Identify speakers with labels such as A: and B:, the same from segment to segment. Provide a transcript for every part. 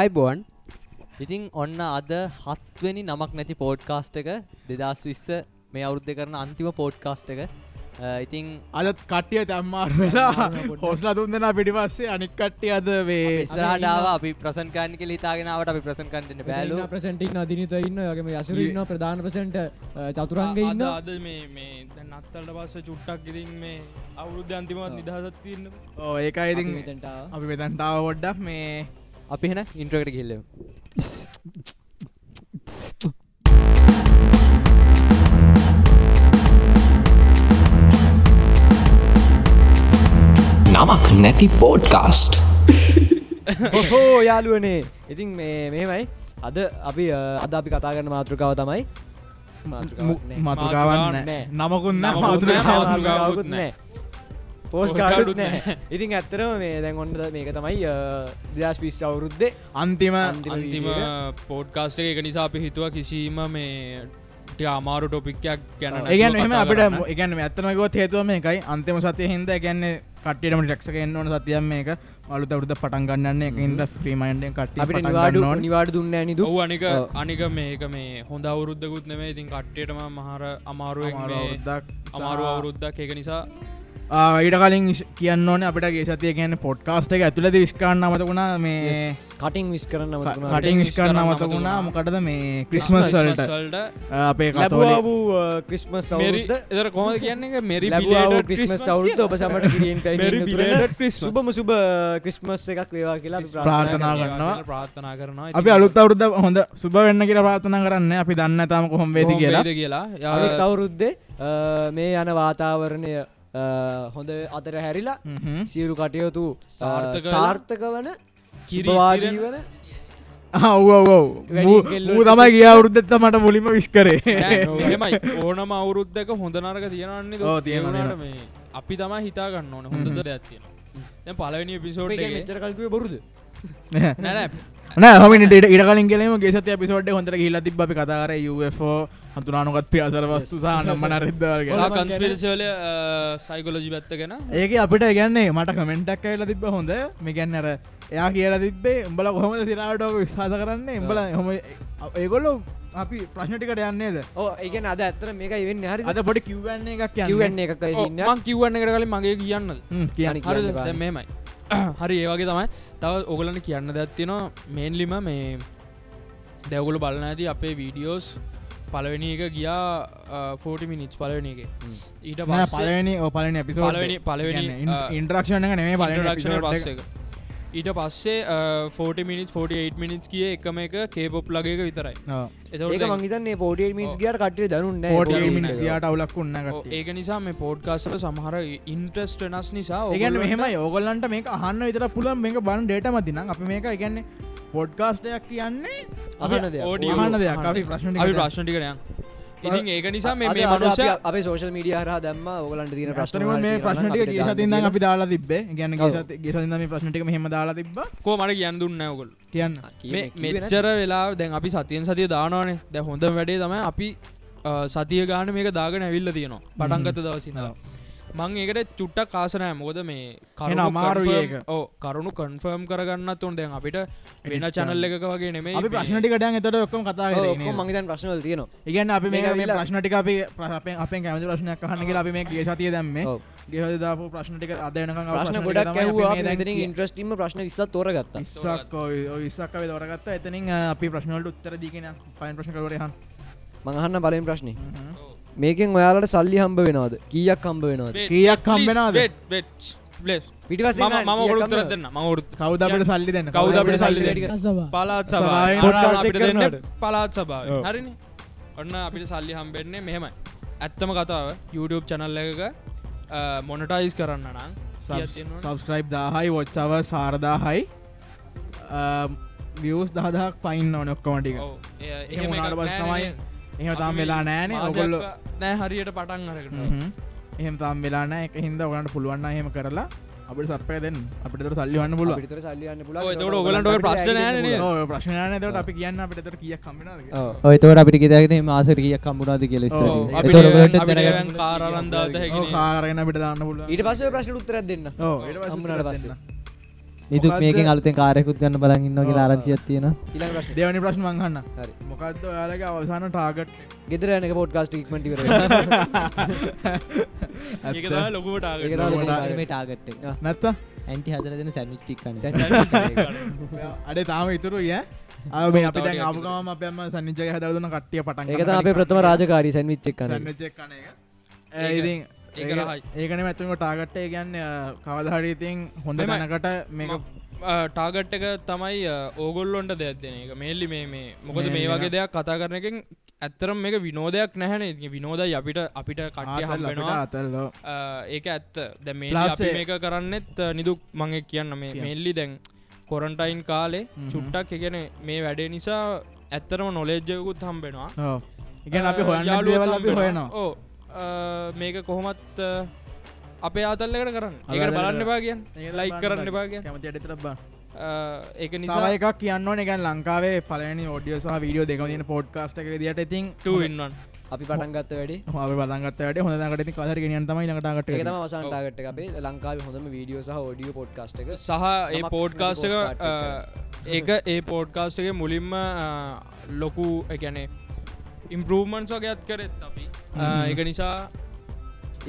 A: ආයිබෝන් ඉතින් ඔන්න අද හත්වනි නමක් නැති පෝඩ්කාස්ට් එක දෙදස් විස්ස මේ අවුද්ධ කරන අන්තිම පෝඩ්කාස්ට් එක අ, ඉතින්
B: අදත් කට්ටිය තම්මාර් වෙලා හොස්ලා තුන් දෙනා පිටිපස්සේ අනික් කට්ටිය අද වේ
A: ඉස්සරහටාව අපි ප්‍රසන්කාන් කෙල හිතාගෙනාවට අපි ප්‍රසන් කන්ටන බැලු
C: ප්‍රසටක් අධිනත ඉන්න යගේම යසර ඉන්න ප්‍රධාන ප්‍රසට චතුරන්ග
D: අද
C: ඉන්න
D: අද මේ මේ දැන් අත්තලට පස්ස චුට්ටක් ඉතින් මේ අවුරුද්ධ අන්තිමත් නිදහසත් තියන්න
B: ඒක ඉතින්
C: මෙතැන්ටාව.
B: අපි මෙතැන්ටාව පොඩ්ඩක් මේ
A: අපි හෙන ඉන්ට්‍රකට කිල්ල
E: නමක් නැති පෝඩ්කාස්ට්
C: හෝ යාලුවනේ ඉතින් මේ මෙහෙමයි අද අපි අ, අද අපි කතා කරන මාතෘකාව තමයි
B: මු- මතුකාවන්
D: මාතෘකාවක්
B: නෑ.
C: නෑ.
B: නමකුන්න
D: නමකුත් නෑ,
B: මාතුකාව
D: මාතෘකාවක්
C: මාතෘකාවකුත්
D: නෑ.
C: නෑ පෝස්
D: කාඩුත්
C: කාඩුත්
D: නෑ.
C: නෑ ඉතින් ඇත්තරම මේ දැන් ඔන්න මේක තමයි දස් පිස් අවුරුද්දේ
B: අන්තිම
C: අන්තිම
D: අන්තිම
C: වීඩියෝ එක.
D: පෝඩ්කාස්ට එක නිසා අපි හිතුව කිසිීම මේ අමාරු ටොපික්යක් ගැන
B: ඒගැන එම අපට ඉගැන ඇත්තනකුවත් හේතුව මේ එකයි අන්තිම සතය හිද ගැන්න කට්ටියටම ටක්ක එන්න ඕන සතියම් මේක අලු තවරුද පටන් ගන්න එක හිද ්‍රීමයින්ඩෙන් කට
C: අපිට නිවාඩු නිවාඩු දුන්න නිදු
D: ඔව අනික අනික මේක මේ හොඳ අවුරුද්ධකුත් නෙමේ ඉතින් කට්ටයටම මහර අමාරුවෙන් මේ අමාරු අවුරුද්ධක් ඒක නිසා
B: ඊට කලින් ඉස්- කියන්න ඕන අපට ගේ සතිය ගැන පොඩ්කාස්ට එක ඇතුලද විස්කාන්න අමත වුණා මේ
C: කටින් විස් කරන්න
D: කටින්
B: කටින් විස්කාන්න අමත
D: අමතක
B: වුණා
D: වුණා.
B: මොකටද මේ ක්‍රිස්මස් සල්ට
D: සල්ට
B: අපේ
C: ලැබවා
B: කතෝලි
C: වූ ක්‍රිස්ම
D: මෙරි
C: සවරුද්ද
D: එතර කොහොම කියන්නේ මෙරි
C: ලැබවා ක්‍රිස්ම සවුරුද්ද ඔබ සමට කිරියෙන්
D: Merry belated
C: පැ
D: Christmas.
C: සුබම සුබ ක්‍රිස්මස් එකක් වේවා කියලා අපි
B: ප්‍රාර්ථනා
C: ප්‍රාර්ථනා කරනවා.
B: ගන්නවා.
D: ප්‍රාත්ථනා කරනවා
B: අපි අලුත් අවරුද හොඳ සුබ වෙන්න කියලා ප්‍රාථනා කරන්න අපි දන්න තම කොහොම වේදි
D: ඉතින්
B: කියලා
D: කොහොම වේද කියලා
C: අනෙක් අවුරුද්දේ අ, මේ යන වාතාවරණය අ, හොඳ අතර හැරිලා
B: හ්ම්.
C: සියලු කටයුතු අ,
D: සාර්ථක වෙලා
C: සාර්ථක වන
D: කිරි-
C: කිරවාදී
D: කිරණ-
C: වන
B: ආ, ඔව් ඔව් ඔව්
C: වැඩි
B: ඌ-
C: කෙල්ලෝ
B: ඌ තමයි ගිය අවුරුද්දෙත් මට මුලින්ම විශ් කරේ
D: එහෙමයි ඕනම අවුරුද්දක හොඳ නරක තියෙනන්නේ
B: ඔව්, තියෙනවා,
D: මේ අපි තමයි හිතාගන්න ඕන හොඳ දෙයක් තියෙනවා දැන් පළවෙනි එපිසෝඩ් එකේ
C: මෙචර කල්කුවේ බොරුද
D: නෑ නෑ
B: නෑ හම ඉට ඉට කලින් කෙලීම ගෙසත පිසෝඩ් හොඳට හිල්ල තිබ අපි කතාර යෝ හතුනානොකත් පියාසර වස්තු සානම්ම නරිද්දවල්ගේ
D: ඔයා කන්ස්පිරසිවල සයිකොලජි පැත්ත ගැන
B: ඒක අපිට ගැන්නේ මට කමෙන්ටක් ඇල තිබ හොඳ මේගැන්න අර එයා කියලා තිබේ උඹල කොහොම සිරාටෝක විශවාස කරන්න උඹල හොම ඒගොල්ලෝ අපි ප්‍රශ්නටිකට යන්නේද
C: ඕ ඒකන අද ඇත්තර මේකයි වෙන්න හරි
B: අද පොඩි කිව්වන්නේ එකක්
C: කිවන්න එකක්
D: ඔව්,
C: ඉන්න
D: මං කිව්වන්න එකට කලින් මගේ කියන්න
B: කියන්න කියන්න
C: කියන්න
D: හරි
C: බෑ.
D: දැන් මෙහෙමයි හරි ඒ වගේ තමයි තව ඔගලන්න කියන්න දෙයක් තියෙනවා මේන්ලිම මේ දැවගුල බලන ඇති අපේ වීඩියෝස් පළවෙනි එක ගියා 40 මිනිස් පලවෙනි එක ඊට පස්සේ
B: පලවෙනි පලන පිසෝ
D: පළවෙනි- පළවෙනි, අ,
B: ඉන්ටරක්ෂණ එක නෙමේ
D: ඉන්ටරක්ෂණ බස්
B: පල
D: එක. ඊට පස්සේ 40 මිනිස් 48 මිනිස් කිය එකම එක කේපොප් ලගේක විතරයි
C: ඒක
D: එතවට
C: මංහිතන්නේ පෝඩිය මිස් ගියට කටිය දනුන්න
B: මිනිස් ගියාට අවුලක් උන්නකට
D: ඒක නිසා මේ පෝඩ්කාස්ට සමහර ඉන්ට්‍රස්ට නස් නිසා
B: ඒගැන්න
D: ඔගොල්ලන්ට
B: මෙහම යෝගොල්ලන්ට මේ අහන්න විතර පුළන් මේක බන් ඩේට මතිනම් අප මේක ඉගැන්නේ පොඩ්කාස්ටයක් කියන්නේ
C: අහන්න දෙයක්.
D: audio
B: අහන්න දෙයක්
D: අහන්න
B: අපි
D: දෙයක්.
B: ප්‍රශ්න
D: අපි ප්‍රශ්න ටිකනය ඉතින් ඒක නිසා මේ මේ මනුෂ්‍ය
C: අපේ සෝෂල් මීඩිය හර දම්ම ඔගලන්ට තින ප්‍රශ්න
B: ප්‍රශ්නක මේ ප්‍රශ්නටික ගේසතින්න අපි දාලා තිබේ ගැන ගේසතින්න මේ ප්‍රශ්නටික මෙහම දාලා තිබ
D: කෝ මට කියන්න දුන්න ඔගොල්
B: කියන්න
D: මෙච්චර වෙලා දැන් අපි සතියෙන් සතිය දානවානේ දැ හොඳ වැඩේ තමයි අපි අ, සතිය ගාන මේක දාගෙන ඇවිල්ල තියනවා පටන්ගත දවසිනලා මං ඒකට චුට්ටක් කාසනෑ මොද මේ
B: එන අමාරුයි
D: confirm-
B: ඒක.
D: ඔව්, කරුණු කන්ෆර්ම් කරගන්න තුන් දැන් අපිට වෙන චැනල් එකක වගේ නෙමේ
B: අපි ප්‍රශ්නටිකටයන් එතට ඔක්කම කතා
C: මංහිතන් ප්‍රශ්නවල් තියනවා
B: ඉගන්න අපි මේ
C: මේක
B: මේ
C: ඇවිල්ලා-
B: ප්‍රශ්නටික අපි ප්‍රපෙන් අපෙන් කැමති ප්‍රශ්නයක් කහනගේ අපි මේ ගේ සතිය දැම්මේ
C: ඔව්.
B: ගෙහදාපු ප්‍රශ්නටික අදයනක
C: ප්‍රශ්න ගොඩක් ඇවවා ඉන්ට්‍රස්ටීම ප්‍රශ්න විස්සත් තෝරගත්ත
B: ඉස්සක් විස්සක්කව දොරගත්ත එතනින් අපි ප්‍රශ්නවලට උත්තර දීගෙන පයින් ප්‍රශ්න කරහන්
C: මඟහන්න බලෙන් ප්‍රශ්නය මේකෙන් ඔයාලට සල්ලි හම්බ වෙනවාද කියක් කම්බ වෙනවාද
B: කීයක් හම්බෙනවද?
C: පිටිපස්සේ
D: ම
C: නෑ,
D: මම
C: කීයක්
D: ඔරුත්තර
C: හම්බෙනවද?
D: දෙන්න ම ඔරුත්
B: කවද අපට සල්ලි දෙන්න
D: කවුද අපිට සල්ලි
B: දෙන්න?
D: දෙන්නේ?
C: සභා.
D: පලාත්
B: සභාවේ
D: සබා
B: podcast
D: අපිට
B: එක
D: දෙන්න
B: කරනවාට?
D: පලාත් සබාව
B: ඔව්.
D: හරිනි ඔන්න අපිට සල්ලි හම්බෙන්නේ මෙහෙමයි ඇත්තම කතාව YouTube චනල්ල එකක මොනටයිස් කරන්න නම්
B: සබස්ක්‍රයිබ් දාහයි වොච්චාව සාරදාහයි වියස් දහදක් පයින් නොනොක්කෝටික එහට පස් තමයි එහම තාම් වෙලා නෑනේ ඔගොල්ල
D: නෑ හරියට පටන් අරකට
B: එහෙම තාම් වෙලා නෑ එක හින්ද ඔගන්නට පුළුවන්න හෙම කරලා අපට සපය දෙන්න අපිට තොර සල්ලිවන්න පුල
C: පිටතට සල්ලි යන්න පුළුවන්.
D: ඔය එතකොට ඔයගොල්ලන්ට ඔය ප්‍රශ්න නෑනේ නේද?
B: ප්‍රශ්නන තට අපි කියන්න අපිට තොර කියක් කමිනාද
C: ඔව්.
F: ඔයතවට අපිට ගෙදගෙන මාසරකියක් කම්බුණාද කියල ස්ට
D: කාරලන්දාද හැකි
B: කාරගෙන අපිට දාන්න පුළුව
C: ඊට පස්සේ ඔය ප්‍රශ්නෙට උත්තරයක් දෙන්න. හම්බුනාට පස්සේ.
F: නිදුක්
B: මොකක්ද?
F: මේකෙන් අලුතෙන් කාරයකුත් ගන්න බලන් ඉන්නවා කියලා ආරංචියක් තියෙනවා
C: ඊළඟ ප්‍රශ්නේ.
B: දෙවනි ප්‍රශ්න මංහන්න
C: හරි.
B: මොකක්ද ඔයාලගේ අවසාන ටාගට්
C: ගෙදර යන එක පොඩ්කාස්ට් ඉක්මනට ඉවර වෙනවා.
D: ඒක තමයි ලොකුම
C: ඒක
D: ටාගට්.
C: තමයි ලොකුම
B: මොකටද?
C: target.
F: මේ ටාගට් එක
B: නැත්ත
F: ඇන්ටි හදලා දෙන සැන්ඩ්විච් ටික කන්නේ
B: අඩේ තාම ඉතුරු ය අ මේ අපි
D: තව
B: දැන්
D: ටිකක්
B: ආපුකම අපම සනිජය හදරදුන කට්ටිය පටන්
C: ඒක තමයි අපේ ප්‍රථම රාජකාරී සැන්ඩ්විච් එක කන්නේ.
B: සැචක්න
D: ඒක-
B: ඉති
D: ඒක රහයි.
B: ඒකන මැතුම ටාගට්ටය ගැන්න කවධහරීතින් හොඳ
D: මෙමය.
B: දැනකට මේක
D: ටාගට් එක තමයි අ, ඕගොල්ලොන්ට දෙයක් දෙන එක මෙල්ලි මේ මේ මොකද
B: මේ
D: මේ
B: වෙන-
D: වගේ දෙයක් කතා කරන එකෙන් ඇත්තරම් මේක විනෝදයක් නැහැන ඉති විනෝදයි අපිට අපිට කටිය
B: ආතල් අපිට
D: හම්බෙනවා
B: අතල්ලෝ
D: අ, ඒක ඇත්ත දැ මේ
B: Plus
D: අපි
B: ඒ-
D: මේක කරන්නෙත් අ, නිදුක් මගේ කියන්න මේ
B: කියන්න.
D: මෙල්ලි දැන් කොරන්ටයින් කාලේ
B: හ්ම්හ්ම්.
D: චුට්ටක් එකගෙන මේ වැඩේ නිසා ඇත්තරම නොලෙජ්ජයකුත් හම්බෙනවා
B: ඉගැන අපි හොයන්න
D: යාළුවොත්
B: දේවල් අපි
D: හම්බෙනවා.
B: හොයනවා
D: ඔව්. අ, මේක කොහොමත් අ, අපේ ආතල්ලකට කරන්න ඒකට
B: ආතල්ලකට
D: බලන්න
B: කරන්න.
D: බාගියන් ලයි කරන්න බාග
B: කැමති අඩ තරබා
D: ඒක නිසා
B: තව එකක් කියන්න නගන් ලංකාවේ පලනි ෝඩිය සහ වීඩියෝ දෙක තින පොඩ්කාස්ට එක දිට ඉතින්
D: ටන්වන්
C: අපි පටන් ගත්ත වැඩේ.
B: හ බලගත්තට හොඳකට කදර ගෙනන් තමයි ලඟටට
C: ඒක තමයි අවසාන ටාගට් එක අපේ ලංකාවේ හොඳම වීඩියෝ සහ ඔඩියෝ පොඩ්කාස්ට් එක.
D: සහ ඒ
C: නමක්
D: පෝඩ්කාස්ට
C: නැති
D: එක
C: podcast
D: අ, ඒක ඒ පෝඩ්කාස්ට එක මුලින්ම අ, ලොකු එකැනේ ඉම්පරූමන්ස් වගේත් කරෙත් අපි අ, ඒක නිසා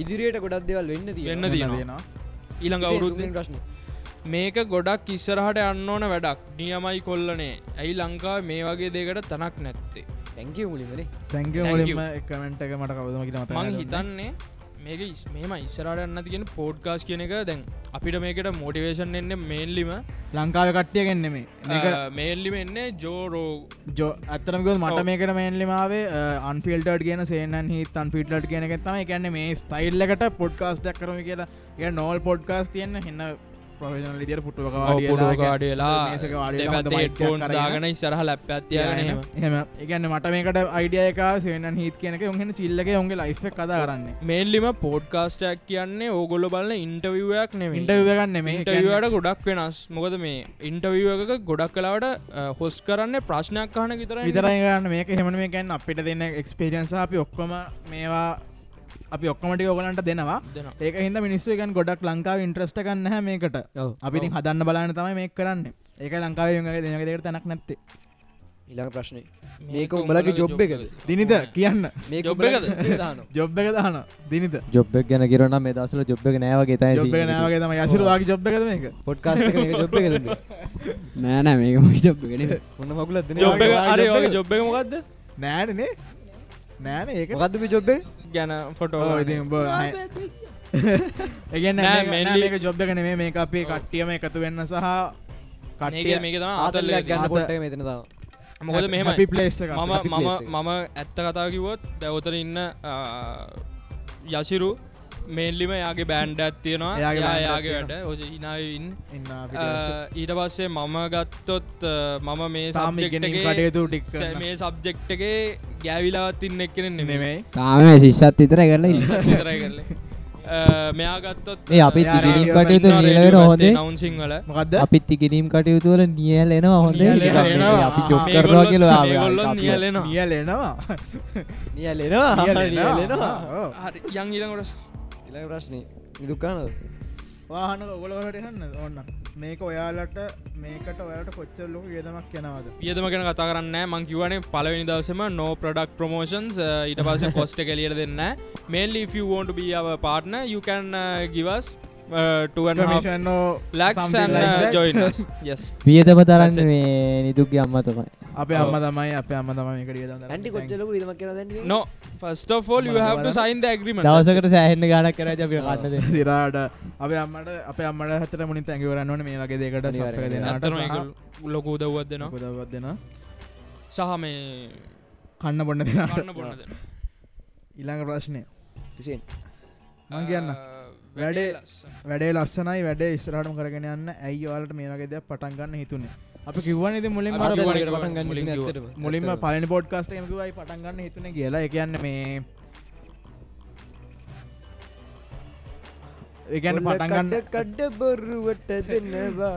C: ඉදිරියට ගොඩක් දේවල් වෙන්න තියෙනවා.
D: වෙන්න තියෙනවා ඊළඟ අවුරුද්ධ
C: ඉතින් ප්‍රශ්නේ.
D: මේක ගොඩක් ඉස්සරහට යන්න ඕන වැඩක් නියමයි කොල්ලනේ ඇයි ලංකා මේ වගේ දෙකට තනක් නැත්තේ
C: Thank you මුලින්ම නේ.
B: තැංක
D: Thank
B: මුලින්ම
D: you.
B: කමෙන්ට් එක මට කවදම කිය මත
D: මං හිතන්නේ මේක ඉස්- මෙහෙම ඉස්සරට යන්න තියෙන පෝඩ්කාස් කියන එක දැන් අපිට මේකට මෝටිවේෂන් එන්න මේන්ලිම
B: ලංකාව කට්ටියගෙන්නෙමේ එක
D: මේල්ලිම එන්නේ ජෝරෝ
B: ජෝ අතරමකද මට මේකට මේන්ලිමාවේ අන්ෆිල්ටර් කියන සේනන් හිත් අන් ෆිල්ට් කියන එක තම එකන්න මේ ස්ටයිල්ලකට පොඩ්කාස් දක් කරම කියලා ඒ නොල් පොඩ්කාස් තියන්න හන්න ප්‍රවේශන ලිදියට
D: පුටුවකාඩලා ෆෝන් දාගන ඉස්සරහ ලැප් ඇතියගෙන හෙම
B: හම එකන්න මට මේකට අයිඩියයක සේනන් හිත් කියනක උහෙන චිල්ලක උන්ගේ ලයිස්ස කදා කරන්න
D: මේල්ලිම පෝඩ්කාස්ටක් කියන්නේ ඕගොල්ල බලන්න ඉන්ටවවක් නෙම
B: ඉන්ටවගන්න මේ
D: ඉන්ටවට ගොඩක් වෙනස් මොකද මේ ඉන්ටවව එක ගොඩක් කලාවට හොස් කරන්න ප්‍රශ්නයක් කහන විතර
B: විතරයි ගන්න මේක හෙමන මේ ගැන් අපිට දෙන්න එක්ස්පිරියන්ස අපි ඔක්කොම මේවා අපි ඔක්කොමටි ඔගලන්ට දෙනවා
D: දෙනවා.
B: ඒක හිද මිනිස්සු ගන් ගොඩක් ලංකාව ඉන්ට්‍රස්ට ගන්න මේකට
C: ඔව්.
B: අපි හදන්න බලාන තමයි මේ කරන්න ඒක ලංකාවේ ගේ දෙනකදට තැනක් නැත්තේ
C: ඊළඟ ප්‍රශ්නේ. මේක උඹලගේ ජොබ් එකද?
B: දිනිත කියන්න
C: මේක
D: Job
C: උඹලගේ
D: එකද?
C: job එක දානවා.
B: ජොබ් එක දාන දිනිත
F: ජොබ් එක ගැන කිරනම් මේ දවස්වල ජොබ් එක නෑ වගේ තමයි
B: ජොබ් එක
F: සීන් එක.
B: නෑවගේ තම යසිරුවාගේ ජොබ් එකද මේක
C: පොඩ්කාස්ට් එක මේක ජොබ් එකද? උඹේ?
G: නෑ නෑ මේක මගේ ජොබ් එක නෙමෙයි.
C: මොන මගුලක්ද නේ?
D: ජොබ් එක අර
B: job
D: ඔගේ
B: එක.
D: ජොබ් එක මොකක්ද
B: නෑනනේ නෑන ඒක
C: මොකද්ද මේ ජොබ් එක?
D: ගැන ෆොටෝ
B: ඒගන්න
D: නෑ, mainly-
B: මේක ජොබ් එකන මේ මේ අපේ කට්ටියම එකතු වෙන්න සහ කට්ටිය
D: මේක තම
C: ආතල්ලයක්
B: ගන්න.
D: ආතල්ලයක්
C: ගන්න
B: ආතල්.
C: පොට්ට එක මෙතන දානවා.
D: මොකද මෙහෙම
B: අපි ප්ලේස් එක
D: මම
C: happy
D: මම
C: place එක.
D: මම ඇත්ත කතා කිවොත් දැවතර ඉන්න අ, යසිරු මේල්ලිම යාගේ බෑන්්ඩ ඇත්තියෙනවා
B: එයාගේ band එකක්
D: යාගේ වැඩ
B: තියෙනවා.
D: ඔජ ඉනාවන්න
B: ඉන්න
D: ඊට පස්සේ මම ගත්තොත් අ, මම මේ
B: තාම ඉගෙනීම්
D: subject එකේ-
B: කටයුතු ටික
D: ස-
B: කරන්න.
D: මේ සබ්ජෙක්් එකේ ගෑවිලාවත් ඉන්න එක්කෙන නෙමේ
B: නෙමෙයි
G: තාම මේ ශිෂ්‍යත් විතර කරලා ඉන්නේ.
D: විතරයි කරලේ. අ, මෙයා ගත්තොත්
F: මේ අපිත්
B: යාරා
F: ඉගෙනීම්
B: radio
F: කටයුතු නිල වෙන හොඳේ
D: නවන්සිංහල
B: මොකක්ද
F: අපිත් ඉගෙනීම් කටයුතු වල නියල් එනවා හොඳේ
B: නියැලෙනවා.
F: නිකන් මේ අපි ජොබ්
B: ආ,
F: කරනවා කියලා
D: ගොල්ලො නියලෙන
B: නියල් එනවා
C: නියල් එනවා. නියල් එනවා.
D: යං ඊලකොට
C: ඊළඟ ප්‍රශ්නේ. නිදුක් ගන්නවද?
B: වාහන ඔගොලවලට හන්න ඔන්න මේක ඔයාලට මේකට ඔයාලට කොච්චර ලොකු වියදමක් යනවද
D: වියදම ගැන කතා කරන්න මං කිවනේ පලවෙනි දවසම නෝ ප්‍රඩක් ප්‍රමෝෂන්ස් ඊට පස කොස්ට කලියට දෙන්න මේල්ලි ෝන්ට බියාව පාටන යුකන් ගිවස්
B: කමිෂන්ෝ
D: ලක්ෂන් ජොයින් යස්
F: වියදම
D: That's it.
F: තරන්න මේ නිදුක්ගේ අම්මා තමයි
B: අප අම්ම තමයි අප අම්ම තම මේකට වියදම් දරන්නේ.
C: ඇන්ටි කොච්චර ලොකු ඉදමක් කරනවද ඇන්ටි?
D: නෝ ෆස්ටෝල් හට සයින් ඇග්‍රීම
F: දවසකට සෑහෙන්න ගානක් කරයි අපි කන්න දෙන්න
B: සිරාට අප අම්මට අප අම්මට හතර මුනින් තැකිවරන්නවන මේ වගේ දෙකට
C: අනිවාර්යෙන්.
B: සප්පක දෙනාට සහ
D: ලොකූ දව්වත් දෙනවා
B: උදව්වක් දෙනවා.
D: සහ මේ
B: කන්න බොන්න දෙනාට
D: කන්න බොන්න දෙනවා.
B: ඉළඟ ප්‍රශ්නය
C: තිසෙන්.
B: මං කියන්න.
D: අ,
B: වැඩේ-
D: ලස්සන.
B: වැඩේ ලස්සනයි වැඩේ ඉස්රාටම කරගෙන යන්න ඇයි ඔයාලට මේ වගේ දෙයක් පටන් ගන්න හිතුනේ අපි කිව්වන ඉති මුලින්
D: අපි
B: අර-
D: කිව්වනේ.
C: ඊට පටන් ගන්න
D: මුලින්
C: ඉතින්
D: කිව්වා.
C: ඇත්තටම.
B: මුලින්ම
C: ඇත්තටම.
B: පලන පොඩ්කාස්ට මකවයි පටන්ගන්න හිතුන කියලා එකන්න මේ ඒගැන
C: ඔන්න
B: පටන්ගන්න
C: කඩ කඩ බොරුවට දෙනවා.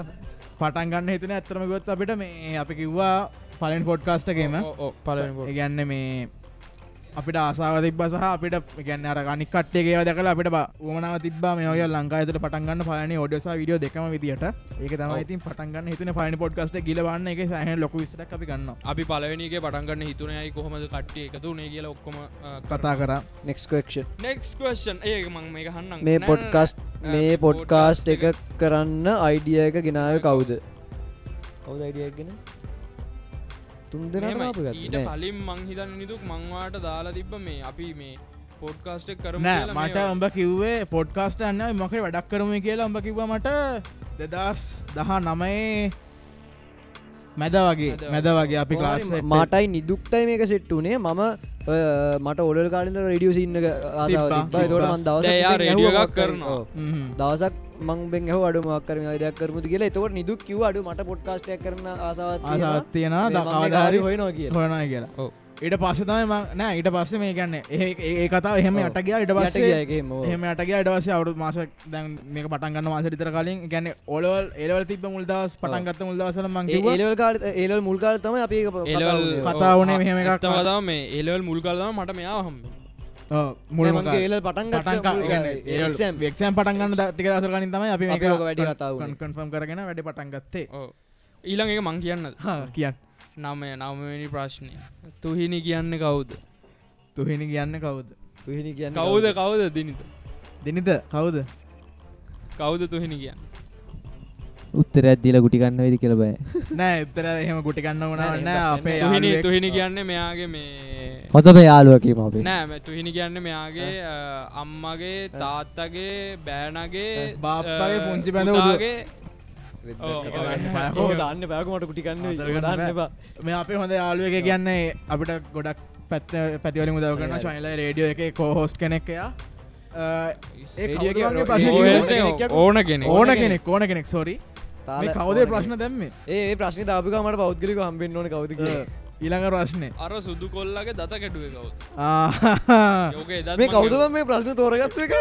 B: පටන්ගන්න හිතන ඇතරම ගොත් අපිට මේ අපි කිව්වා පලෙන් පොඩ්කාස්ටගේම
D: ඔව්, ඔව්, පළවෙනි පොඩ්.
B: ඒගැන්න මේ අපිට ආසාාව තිබ සහ අපිට ගැන්න අර අනිකට්ටේගේ දැකල අපිට ඕමනාව තිබ මේය ලංකාඇතට පටන්ගන්න පලන ඔඩස විඩියෝ දෙකම විදිට ඒක තම ඉතින් පටන්ගන්න හිතන පයින පොඩ්කස්ට ගිලවන්න එක සහන ලොක විසට අපි ගන්න
D: අපි පලවෙනිගේ පටන්ගන්න හිතුනයයි කොහොමද කට්ටිය එකතු වනේ කියල ඔක්කොම
B: කතා කර
C: නෙක්ස්ක්ෂ
D: නෙක්ස්කෂන් ඒ මං මේ හන්න
C: මේ පොඩ්කස්ට් මේ පොඩ්කාස්ට් එක කරන්න අයිඩිය එක ගෙනාව කවුද කවුද අයිඩියගෙන තුන්දරම
D: ඊට පලින් මංහිතන්න නිදුක් මංවාට දාලා තිබ්බ මේ අපි මේ පොඩ්කාස්ට් කරම
B: නෑ මට උඹ කිව්වේ පොඩ්කාස්ට අන්න මක වැඩක් කරම කියලා උඹ කිව මට දෙදස් දහ නමයේ මැද වගේ මැද වගේ අපි ලාස්
C: මටයි නිදුක්ටයි මේක සෙට්ටුනේ මම ඔය මට ඔඩල් කාලින්ද රඩියස් ඉන්න
B: තිබ්බා.
C: තොට මන් දවස
D: දැන් එයා radio එකක් කරනවා.
C: දවසක් මංබෙන් හ අඩුමක් කරම අදයක් කරමුතු කියලා එතවට නිදුක් කිව අඩු මට පොඩ්කාස්ටයක් කරන ආසාවත්
B: ආසාත්තියෙන දකාවධාරි
C: දකාවධාරි හොයනවා කිය
B: හොනයි කියලා
D: ඔව්.
B: ඊට පස්සතම නෑ ඊට පස්සේ මේ ගන්න ඒ කතා එහෙම
C: ඔව්.
B: අටගේ ඉට
C: යට
B: පස්සේ
C: ගියා එකේම, ඔව්.
B: එහෙම අටගේ අඩවස අවුත් මාසක් දැන් මේ පටන්ගන්න මාස ිතර කලින් ගැන ඔලවල් එලවල් තිබ මුල්දස් පටන්ගත්ත මුල්දවසල මංගේ
C: ඒලල් කාල ඒලල් මුල්කාල තම අපි ඒක කතා වුණේ.
B: කතා වුණේ මෙහෙම එකක්.
D: තවදා මේ එලවල් මුල් කල්දම මට මෙයා හම්
B: මුල්
C: නෑ, මං ඒලල් පටන් ගත්ත මුල් කාලේ. exam.
B: ක්ෂම් පටන්ගන්න ටික දසර කලින් තමයි අපි
C: අපි ඕක වැඩි කතා වුණේ.
B: කන්ෆම් කරගෙන වැඩි පටන්ගත්තේ
D: ඊළඟ එක මං කියන්නද
B: කියන්න
D: නමය නමවැනි ප්‍රශ්නය තුහිනි කියන්න කවුද
B: තුහෙනි කියන්න කවුද
C: තුහිනි කියන්න
D: කවුද කවුද දිනිත
B: දෙනිත කවුද
D: කවුද තුහිනි කියන්න
F: උත්තරයක් දීලා ගුටි ගන්න වෙයිද කියලා බය.
B: නෑ එතර එහෙම ගුටිගන්න වුණන්න අපේ
D: තුහිනි
B: යාළුවෙක්-
D: තුහිනි කියන්න මෙයාගේ මේ
F: හොඳම යාළුවා කියමු අපි.
D: නෑ මේ තුහිනි කියන්න මෙයාගේ අ, අම්මගේ තාත්තගේ බෑනගේ
B: බාප්පගේ
D: අ,
B: පුංචි බැඳ
D: පුතාගේ ඔව්, ඔව්.
B: ඔව්.
C: දන්න පැකමට කුටිකන්න දන්න
B: දන්න
C: එපා
B: මේ අපේ හොඳ යාලුවක කියන්නේ අපිට ගොඩක් පැත් පැතිවලින් උදව කරන ශයිල රේඩියෝ එක කෝහෝස් කෙනෙක්කයා
C: Radio එක
B: ඒ
C: radio
D: OS
C: එක
D: නේ,
C: කෙනෙක්
D: ඕන කෙනෙක්
B: ඕන කෙනෙක් ඕන කෙනෙක් සොරි
C: තාල-
B: මේ
C: ඕන
B: කවදේ
C: කෙනෙක්.
B: ප්‍රශ්න දැම්මේ
C: ඒ ප්‍රශ්න තාපිකමට පෞද්ගලික හම්බෙන් ඕන කවද
B: ඊළඟ ප්‍රශ්නය
D: අර සුදු කොල්ලගේ දත කැටුව කවුද
B: ආ.
D: යෝක එදත්
C: මේ
D: මම
C: කවුද මේ ප්‍රශ්න තෝරගත්ත එක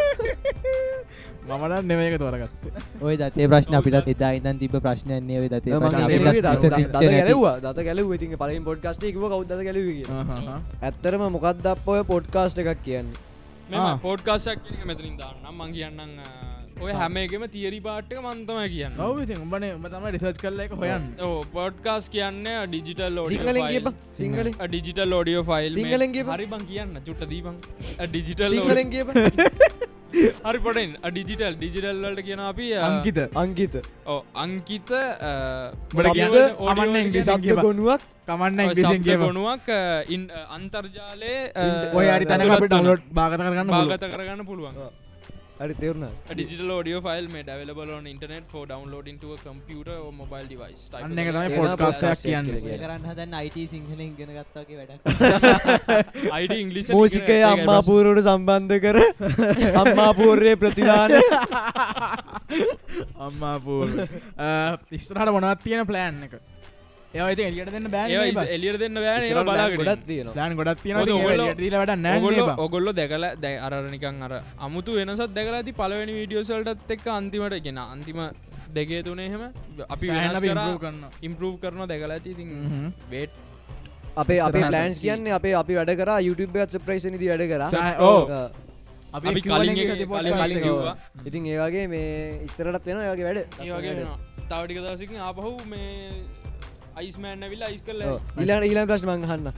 B: මමට නෙමේක තොරගත්තේ
F: ඔය දතේ ප්‍රශ්න අපිටත් එදා ඉඳන් තිබ්බ ප්‍රශ්නයක් නේ ඔය දතේ ප්‍රශ්න අපිටත් විසඳිච්ච නැති.
C: ගැලවා දත ගැලව ඉතින් පලින් පොඩ්කාස්ට එකව කවුද ගැලව ඇත්තරම මොකක්ද අප ඔය පොඩ්කාස්ට එකක් කියන්නේ
B: ආ.
D: පොඩ්කාස්ටක් කියන එක මෙතනින් දාන්නම් මං කියන්නම් අ, ඔය හැම එකම තියරි පාට්ටක මන්තම කියන්න
B: ඔවති උඹන උඹ තම රිසර්ච් කරල එක හොයන්න
D: ඕ පොඩ්කාස් කියන්න ඩිජිටල්
C: සිංහලෙන් කියප සිංහල
D: ඩිජිටල් ෝඩියෝ ෆයිල්
C: සිංහලෙන් කියපන්.
D: හරි බං කියන්න චුට්ට දීපන් ඩිජිටල්
C: සිංහලෙන් කියප
D: හරි පොටෙන් ඩිජිටල් ඩිජිටල්ලට කියන අපි අ,
B: අංකිත
C: අංගිත
D: ඔව්, අංකිත
B: උඹට කියන්න අමන්න ඉංග්‍රීසින්
C: සබ්ද
B: කියපන්.
C: ගොනුවක්
B: කමන්න ඉංග්‍රීසින් කියප
D: ගොනුවක් අන්තර්ජාලය
B: ඔය අරි තැන අපට ඩවලෝඩ් භාගත කරගන්න පුළුවන්.
D: භාගත කරගන්න පුළුවන්
C: හරි තෙරුණා
D: ඩිජිටල් ෝඩියෝ ෆයිල් මේ ඩවලබල න් ඉටනෙට ෝ ඩවන්ලෝඩින්ටුව කම්පියට මොබයිල් ඩිවයිස්
B: අන්න එක තමයි පොඩ්කාස්ටයක් කියන්නේ
F: ඔය කරන්න හදන්න IT සිංහලෙන් ඉගෙන ගත්තා වගේ වැඩක්.
D: අයිඩ ඉංගලි
C: මූසිකය අම්මාපූරුවට සම්බන්ධ කර අම්මාපූර්ය ප්‍රතිදාන
B: අම්මා පූ ඉස්සරහට මොනවත් තියෙන ප්ලෑන් එක ඒවයිති එලියට දෙන්න බෑ
D: එලියර දෙන්න වෑන බලාගටත්
C: ගොඩත් තියෙනවා
B: ලෑන් ගොඩක් තියෙන
D: ඔය ඔයගොල්ලෝ-
B: ීල වැඩ
D: ඔගොල්ල
B: නෑ
D: ඔගොල්ල දැකල දැ අරනිකං අර අමුතු වෙනසත් දැකලා ඇති පලවෙනි වීඩියෝසල්ටත් එක් අන්තිමට ගෙන අන්තිම දෙගේ තුනේ හෙම අපි
B: සෑහෙන අපි improve
D: කරන්න
B: කරනවා.
D: ඉම්පරූ් කරන දැකලා ඇති ඉතින්
B: හ්ම්.
D: වේට්
C: අපේ අපේ
B: ඉස්සරහට
C: ලෑන්ස් කියන්නේ අපේ අපි වැඩ කර යුටබත් ප්‍රේෂණනිති වැඩ කර
B: සහ- ඕ.
D: අපි කලින් එක- කලින් එක කිව්වා.
C: ඉතින් ඒවාගේ මේ ඉස්තරටත් වෙන යගේ වැඩ
D: ඒවගේ තවටික දසිකින් ආපහු මේ අයිස්මෑන්න විල්ලා අයිස් කරල
C: ඉලාට ඊලා ප්‍රශ්න මංහන්න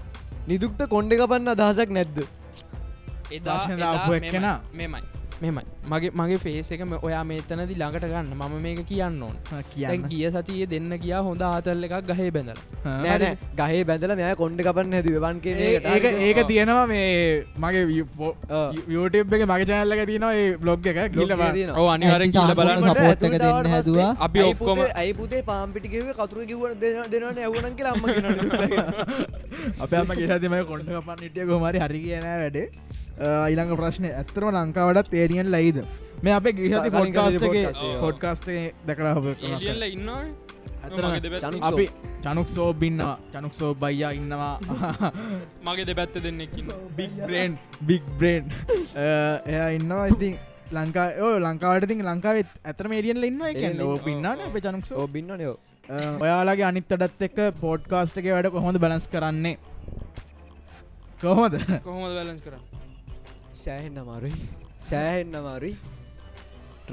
C: නිදුක්ට කොන්්ඩ කපන්න අදහසක් නැද්ද
D: එදා
B: ප්‍රශ්න
D: එදා
B: දාපු
D: මෙමයි,
B: එක්කෙනා.
D: මෙමයි මෙමයි මගේ මගේ ෆේස එකම ඔයා මෙතනදි ළඟට ගන්න මම මේක කියන්න ඕන දැන්
B: කියන්න
D: ගිය සතියේ දෙන්න ගියා හොඳ ආතල්ල එකක් ගහේ බැඳල
C: නෑන ගහේ බැඳල මෙය කොන්්ඩ කපන්න හැද වන්
B: ඒක ඒක තියෙනවා මේ මගේ
C: ආ.
B: යුටබ් එක මගේ චැනල්ල එක තියෙනවා ඒ බ්ලොග් එක ගිලවා
D: ඕ අනිවර කියල බලන්න
F: සහ- support එක දෙන්න හැදුවා.
D: අපි ඔක්කොම-
C: අයිපුතේ පාම්පිටිකව කතුර කිව දෙනන ඇවුණන් කියලා අම්ම
B: අපම ගෙසතිම කොට්ට පන් ඉටිය ගොමරි හරි කියන වැඩ ඊළඟ ප්‍රශ්නය ඇත්තරම ලංකාවටත් තේරියෙන් ලයිද මේ අප ගිහති
C: කලින්
B: පොඩ්කාස්ටගේ
C: podcast එක.
B: පොඩ්කාස්ටේ දැකලා හොබ
D: එලියල්ල ඉන්නවා
B: ඇත්තටම
D: මගේ දෙපැත්තෙන්-
C: චනුක්
B: අපි චනුක් සෝබින්නවා චනුක් සෝ බයියා ඉන්නවා
D: මගේ දෙපැත්ත දෙන්නෙක්කින්න
B: බික් බ්‍රේන්් බික් බ්‍රේන්් එය Uh, ඉන්නවා ඉතින් ලංකා ඕ ලංකාවට ඉතින් ලංකාවත් ඇතරම එලියන්ල ඉන්න එක
C: එළියෙන් ඉන්නවා.
B: ඉන්නන අප චනුක් සෝ
C: ඔබින්න නයෝ
B: ඔයාලගේ අනිත්තටත් එක්ක පෝඩ්කාස්ට් එක වැඩ කොහොඳ බලස් කරන්නේ කොහොමද
D: කොහොමද වැලන්ස් කරන්න
C: සෑහෙන් අමාරුයි සෑහෙන් අමාරුයි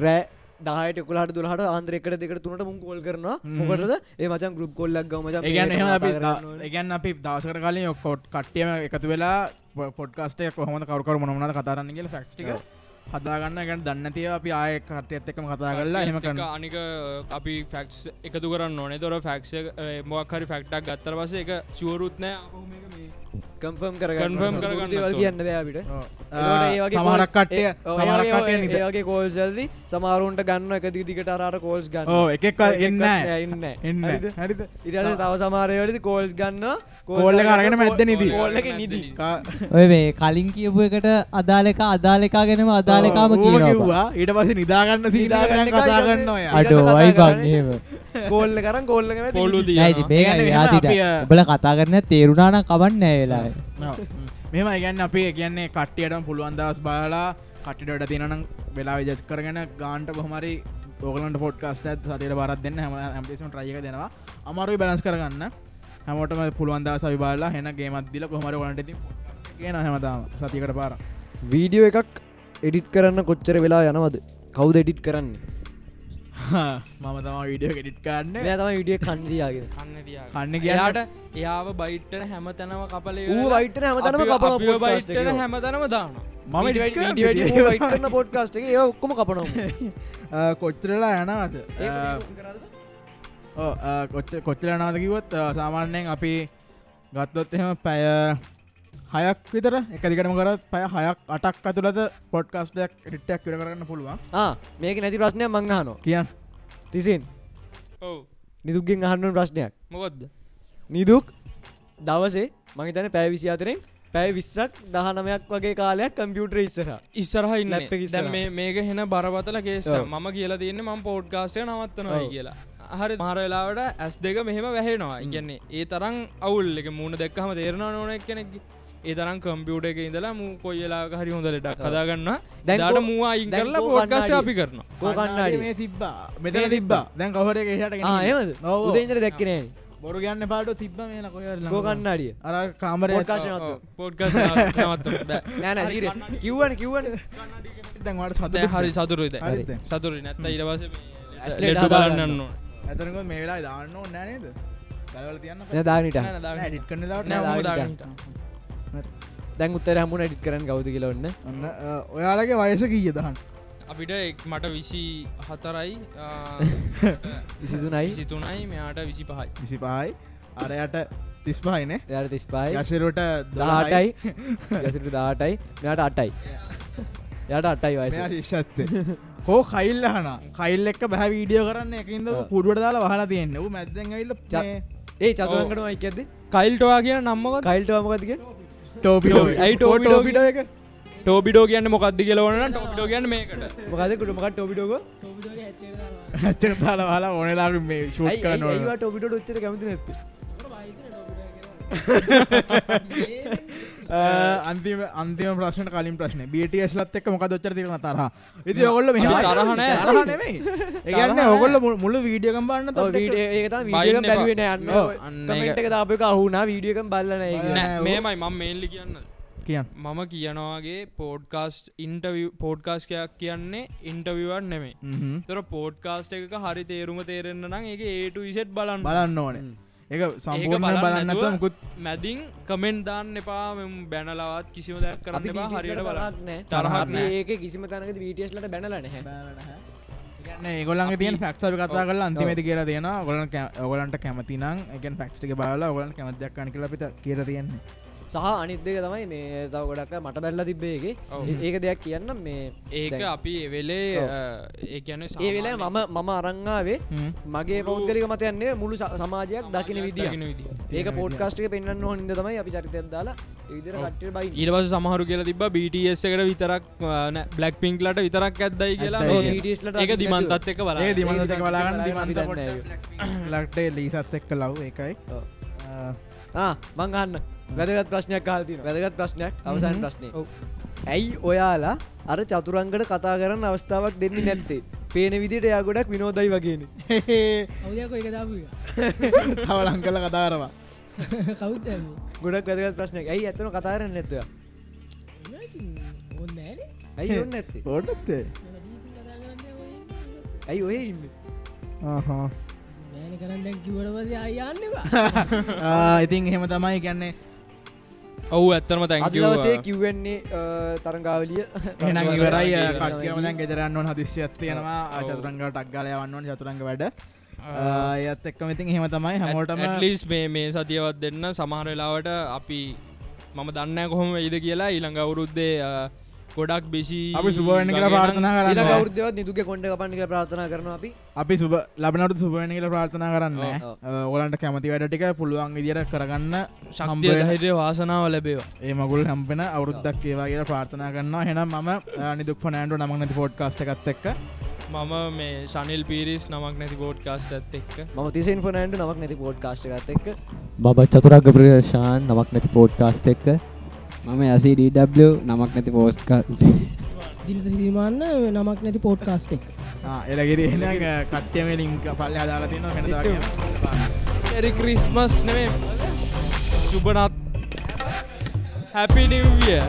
C: රෑ දාහට කුලට දුලහට ආන්ද්‍රෙකට දෙකට තුනට මුං කෝල් කරනවා මොකටද ඒ මචන් ගුප් කොල්ලක් ගම
B: ඒගැන් එහම අපි ඒගැන් අපි දවසකට කලින් ඔක්කොට් කට්ටියම එකතු වෙලා පොඩ්කාස්ටේ කොහොම කවරුකර මොනමද කතාරන්න කියල ෆක්ටික හදාගන්න ගැන දන්නතිය අපි ආය කටයත් එක්ම කතා කරලා හෙම කරන්න
D: අනික අපි ෆැක්ස් එකතු කරන්න ඕනේ තොර ෆැක්ෂ මොක්හරි ෆැක්ටක් ගත්තර පස එක චුවරුත්නෑ
C: කම්ෆම්
D: Confirm
C: කරගන්න
D: කරගන්න
C: දේවල්
D: ඕන.
C: කියන්න බෑපිට
B: සමහරක් කට්ටය සමරක්ටය නිද
C: ඒගේ කෝල්සල්දී සමාරුන්ට ගන්න එක දිගට අරට කෝල්ස් ගන්න
B: ඕ එකක් එන්න
C: එන්න
B: එන්න
C: හරිද?
B: හරිද
C: ඉරට තව සමාරයවලදි කෝල්ස් ගන්න
B: කෝල්ල කරගෙන මැද්ද නිදී
C: කෝල්ලක නිදී
F: ඔය මේ කලින් කියපු එකට අදාලක අදාලකා ගැනම අදාලකාම කියනවා
B: කිව්වා ඊට පස්සේ නිදාගන්න සීදාගන්න කතා ගන්න ඔය
C: ඊට පස්සේ
F: අඩෝ අයි
C: කතා
F: බං
C: කරන්නේ.
F: එහෙම
C: කෝල්ල කරන් කෝල්ලක මැද
D: පොල්ලු
F: නැති
B: ඒ
D: දී
F: මේක
B: කියන්නේ මෙහෙම
F: යාතිට
B: අපි, අ,
F: ඔබල කතා කරන තේරුණාන කවන්න ඇවෙලා
B: මෙම ඉගන්න අපේ කියන්නේ කට්ටියටම පුළුවන් දවස් බාලා කටිට තිනනම් වෙලා විජස් කරගෙන ගාන්ට පොහමරි ඕගලන්ට පොඩ්කාස්ට සතයට බරත් දෙන්න හම ඇම්පිසම් ්‍රයක දෙනවා අමරුයි බලස් කරගන්න හැමෝටම පුළුවන්දා සවිබාලා හෙන ගේමත්දිල කොහමර වලට කියන හැමතාම සතිකට පාර
C: වීඩියෝ එකක් එඩිට් කරන්න කොච්චර වෙලා යනවද කවුද එඩිට් කරන්න
B: මම තම විඩියෝ ගෙඩිට් කාන්න
C: තම විඩිය කන්ඩියයාගෙන
B: කන්න
D: කන්න
B: කියන්න.
D: ගයාට එයාව බයිට්ටන හැම තැනව කපලේ
C: ඌ වයිටන හැමතනම කපන
D: බයිට්ටන හැමතනම දාන
B: මම edit කරන video එක.
C: වයිටන පොඩ්කාස්ට එක ඒ ඔක්කොම කපනවා
B: අ, කොච්චරලා යනවද අ, ඔව්, අ, කොච්ච කොච්චර යනවද කිවොත් සාමාන්‍යයෙන් අපි ගත්තොත් එහෙම පැය හයක් විතර එක දිගටම කරත් පැය හයක් අටක් අතුළත පොඩ්කාස්ටයක් ටිට්ටක් විර කරන්න පුළුවන්
C: මේක නැති ප්‍රශ්නය මංගහනෝ
B: කියන්
C: තිසින්
D: ඔව
C: නිදුක්ගෙන් අහන්නු ප්‍රශ්නයක්
D: මොකොද්ද
C: නිදුක් දවසේ මහිතන පැෑ විසි අතරෙන් පැෑ විස්සක් දහනමයක් වගේ කාලයක් කම්පියුටර ඉස්සර
D: ඉස්සරහ ඉන්න
C: Lap එක
D: දැන්
C: ඉස්සරහ.
D: මේ- මේක හෙන බරපතල කේස
C: ඔව්.
D: මම කියලා තියන්නේ මම පෝඩ්ගාස්ටය නවත්තනවයි
C: ඔව්.
D: කියලා හරි මහරවෙලාවට ඇස් දෙක මෙහෙම වැහෙනවා ඉගන්නේ ඒ තරම් අවුල් එක මූුණ දැක්කහම තේරෙන ඕන කෙනෙක් ඒ තරම් කම්පියුට එක ඉඳලා මූ කොයිලා හරි හොඳ ලෙඩක් කදාගන්න
C: දැන්
D: දැට
C: කෝ-
D: මූවා අයින්
C: දැන්
D: කරලා
C: කෝ
D: පෝඩ්කාශ
C: කණ්ණාඩියේ?
D: අපි කරනවා
C: කෝකන්නාඩ
B: තිබ්බා මෙතන තිබ්බා දැන් කවර
C: ඒමද උදේන්දර දැක්කනේ
B: බොරු ගන්න පාට තිබ්බ මේ කොය
C: කෝකන්නාඩිය
B: අර කාමර
C: පොඩ්කාස්ට් එක නවත්තමු.
D: පෝඩ්ගස්
C: නෑන සීරස් කිව්වන කිව්වන
B: දැන්වට සත
D: හරි සතුරුයිද
B: හරිද දැන්?
D: සතුරි නැත්ත ඉරවස
C: ඇස් ලෙඩ
D: ලෙඩු
C: හදාගන්න.
D: බලන්නන්න ඕන.
B: ඇතරකොත් මේ වෙලා දාන්න ඕ නෑනේද දවල තියන්න
C: දානට
D: නෑ, නෑ, දාන්න.
B: ඩිට් කන්න
D: නෑ,
B: ලාට
C: දාන්න.
D: මූ
C: දාන්න.
D: දාගන්න.
C: දැන් උත්තර හමුණ ඩිට් කරන්න ගෞති කියලවන්න
B: ඔන්න අ, ඔයාලගේ වයස කීය දහන්
D: අපිට එක් මට විසි හතරයි
C: විසිදුනයි
D: සිතුනයි මෙයාට විසි පහයි
B: විසි පායි අරයට තිස් පායිනේ
C: යාට තිස්පායි
B: යසිරුට
C: දාටයි යසිට දාටයි මෙයාට අටයි යට අටයි වයස
B: ශත්තේ හෝ කයිල් හන කයිල් එක් බැහ වීඩියෝ කරන්න එකින්ද
C: ඔව්.
B: පුඩුවට දාලා වහලා තියෙන්න්න ූ මැදැන් ඇල්ල
C: ච- ඒ චතුරන්කට මයික ඇද
D: කයිල්ටවා කියන නම්මක
C: කයිල්ට අමකතික
D: ඇයි ටෝපි
C: ටෝපිට
D: ටෝපිට
C: එක
D: ටෝබිඩෝ කියන්න මොකක්ද කියලවන ටෝපිඩෝ කියන්න මේකට
C: මොකද කුටමකට ටෝපිටෝක
B: හච්චර දාලා හලා ඕනලා මේ ශූට් කරනවා
C: ටෝපිට ොච්චර කැමති නැත
B: Uh, අන්තිම අන්තිම ප්‍රශ්න කලින් ප්‍රශ්න බටස් ලත් එක් මොක ොච්චර තිරන තරහ ඉති ඔගොල්ල මෙ
D: තරහ නෑ.
B: ඒගන්න ඔගොල්ල මුළු වීඩියකම් බන්න
C: ඒකත
D: බයින්න
C: වීඩියක බැලුවෙන යන්න
D: ඔව්. අන්න
C: කමෙන්ට්
D: ඒක.
C: එක දාපක අහුනා වීඩියකම් බල්ලන
B: නෑ.
D: නෑ,
B: ඕ.
D: මේමයි මම මේල්ලි කියන්න
B: කියන්න
D: මම කියනවාගේ පෝඩ්කාස්ට් ඉන්ටව පෝඩ්කාස්ටයක් කියන්නේ ඉන්ටවිවන් නෙමේ
B: හ්ම්.
D: තොර පෝඩ්කාස්ට එක හරි තේරුම තේරෙන්න්න නම් ඒ ඒට විසට් බලන්න
B: බලන්න ඕනේ ඒක සම්පූර්ණ
D: බලන්න
B: බලන්න
D: නැතුව
B: මුකුත්
D: මැදින් කමෙන්ට් දාන්න එපා මෙම බැනලවත් කිසිම දැක් කරන්න එපා හරියට බලන්න තරහක්
C: තරහ
D: නෑ.
C: ඒක කිසිම තැනක වීටියස්ලට බැනලන හැ
B: ඒගොලන් තියන ෆක්ෂ කතා කල අන්තිමති කියලා තියෙන ගොලන් ඔගලන්ට කැමතිනම් එකෙන් ෆක්ෂටික බාල ඔගලන් කැමතියක් කන කල පිට කියර තියෙන්නේ
C: සහ අනිත්දක තමයි මේ තව ගොඩක් අය මට බැල්ල තිබ්බේගේ
D: ඔව්.
C: ඒක දෙයක් කියන්න මේ
D: ඒක
C: දැන්
D: අපි වෙලේ
C: ඔව්.
D: ඒකන
C: ඒ වෙලා මම මම අරංාවේ මගේ පෞද්ගලික මතයන්නේ මුළු ස- සමාජයක් දකින විදිිය ඒක පෝට්කාස්ටික පෙන්න්න හොනිද තමයි අපි චරිතයක් දාලා ඒවිදිර කට්ට බයි
D: ඊට පස සමහරු කියලා තිබ BTS එකට විතරක් බ්ලක් පිංක්ලට විතරක් ඇත්දයි කියලා
B: ඇත්දයි
D: මේ-
C: BTS ලට
D: ඒක
C: අදින්
D: දිමන්තත් එක බල
B: ඒ දිමන්ත බලාගන්න
C: බලාගෙන අපි
B: දිමන්ත
C: දන්නේ නෑ
B: ලක්ටේ ලීසත් එක්ක ලව් එකයි
C: ඔව්.
B: අ,
C: ආ, මං අන්න වැදගත් ප්‍රශ්නයක් කාල්තින වැදගත් ප්‍රශ්නයක් අවසන් ප්‍රශ්නය
D: ඔව්.
C: ඇයි ඔයාලා අර චතුරංගට කතා කරන්න අවස්ථාවක් දෙන්නේ නැත්තේ පේන විදිට එයා
B: Uh,
C: ගොඩක් විනෝදයි වගේන
B: තව ලංකල කතාරවා
H: කවුද
C: ගොඩක් වැදගත් ප්‍රශ්නයක් ඇයි ඇතන කතාරන්න නැත්තව
H: ඔන්න ඇන
C: ඇයි ඔන්න ඇත්තේ
B: පොටත්තේ
C: ඇයි ඔය ඉන්න
B: ආහා
H: මෑන කරන්න දැන් කිවටපද අයන්නවා
B: ආ, ඉතින් එහෙම තමයි කියන්නේ
D: ඔව් ඇත්තම
C: අදවසේ
D: තැන්ක
C: කිව්වෙන්නේ තරංගාවලිය
B: එහෙනම් ඉවරයි කට්ියම දැන් ගෙදරන්න ඕන හදිසියක් තියෙනවා චතුරංගට අක්ගලය වන්න ඕන චතුරංග වැඩ ඒත් එක්කම ඉතින් එහෙම තමයි හැමෝටම
D: ඇටලිස් මේ මේ සතියවත් දෙන්න සමහරවෙලාවට අපි මම දන්න කොහොම ඉද කියලා ඊළඟ අවුරුද්දේ අ, ගොඩක් බිසි
B: අපි සුබවෙන්න කියලා ප්‍රාර්ථනා
C: ඊළ
B: කරන්න
C: ගෞද්ධවත් නිදුක කොඩ පන්න කියල ප්‍රාථනා කරන අපි
B: අපි සුබ ලබනට සුබවෙන කියලා ප්‍රාර්ථනා කරන්න
C: ඔව්,
B: අ, ඕලන්ට කැමති වැඩ ටික පුළුවන් විදිර කරගන්න
D: ශක්තිය
B: හම්බවෙන-
D: දහිරය වාසනාව ලැබේවා
B: ඒ මගුල් හම්පෙන අවුද්දක් ඒවා කියලා ප්‍රාර්ථනා කරන්න හෙනම් ම නිදුක් ෆනෑන්ඩු නමනති පොඩ්කාස්ට එකත් එක්ක
D: මම මේ ශනිල් පිරිස් නමක් නැති පෝඩ්කාස්ට ඇත් එක්ක
C: ම තිසන් පනෑන්ට නමක් නැති පෝඩ් කාශ්ට ගත්තෙක්
F: බබ චතුරක් ප්‍රේශාන් නමක් නැති පෝට්කාස්ට එක්ක
G: මම ඇසි ඩW නමක් නැති පෝස්්කා
H: දිරිත සිරිමාන්න නමක් නැති පෝට්කාස්ට එක්
B: එලගෙරි එ කට්්‍යම ලින්ක පල්ල අදාලතින
D: එරි ක්‍රිස්මස් නෙමේ සුබනත් හැපිනිවිය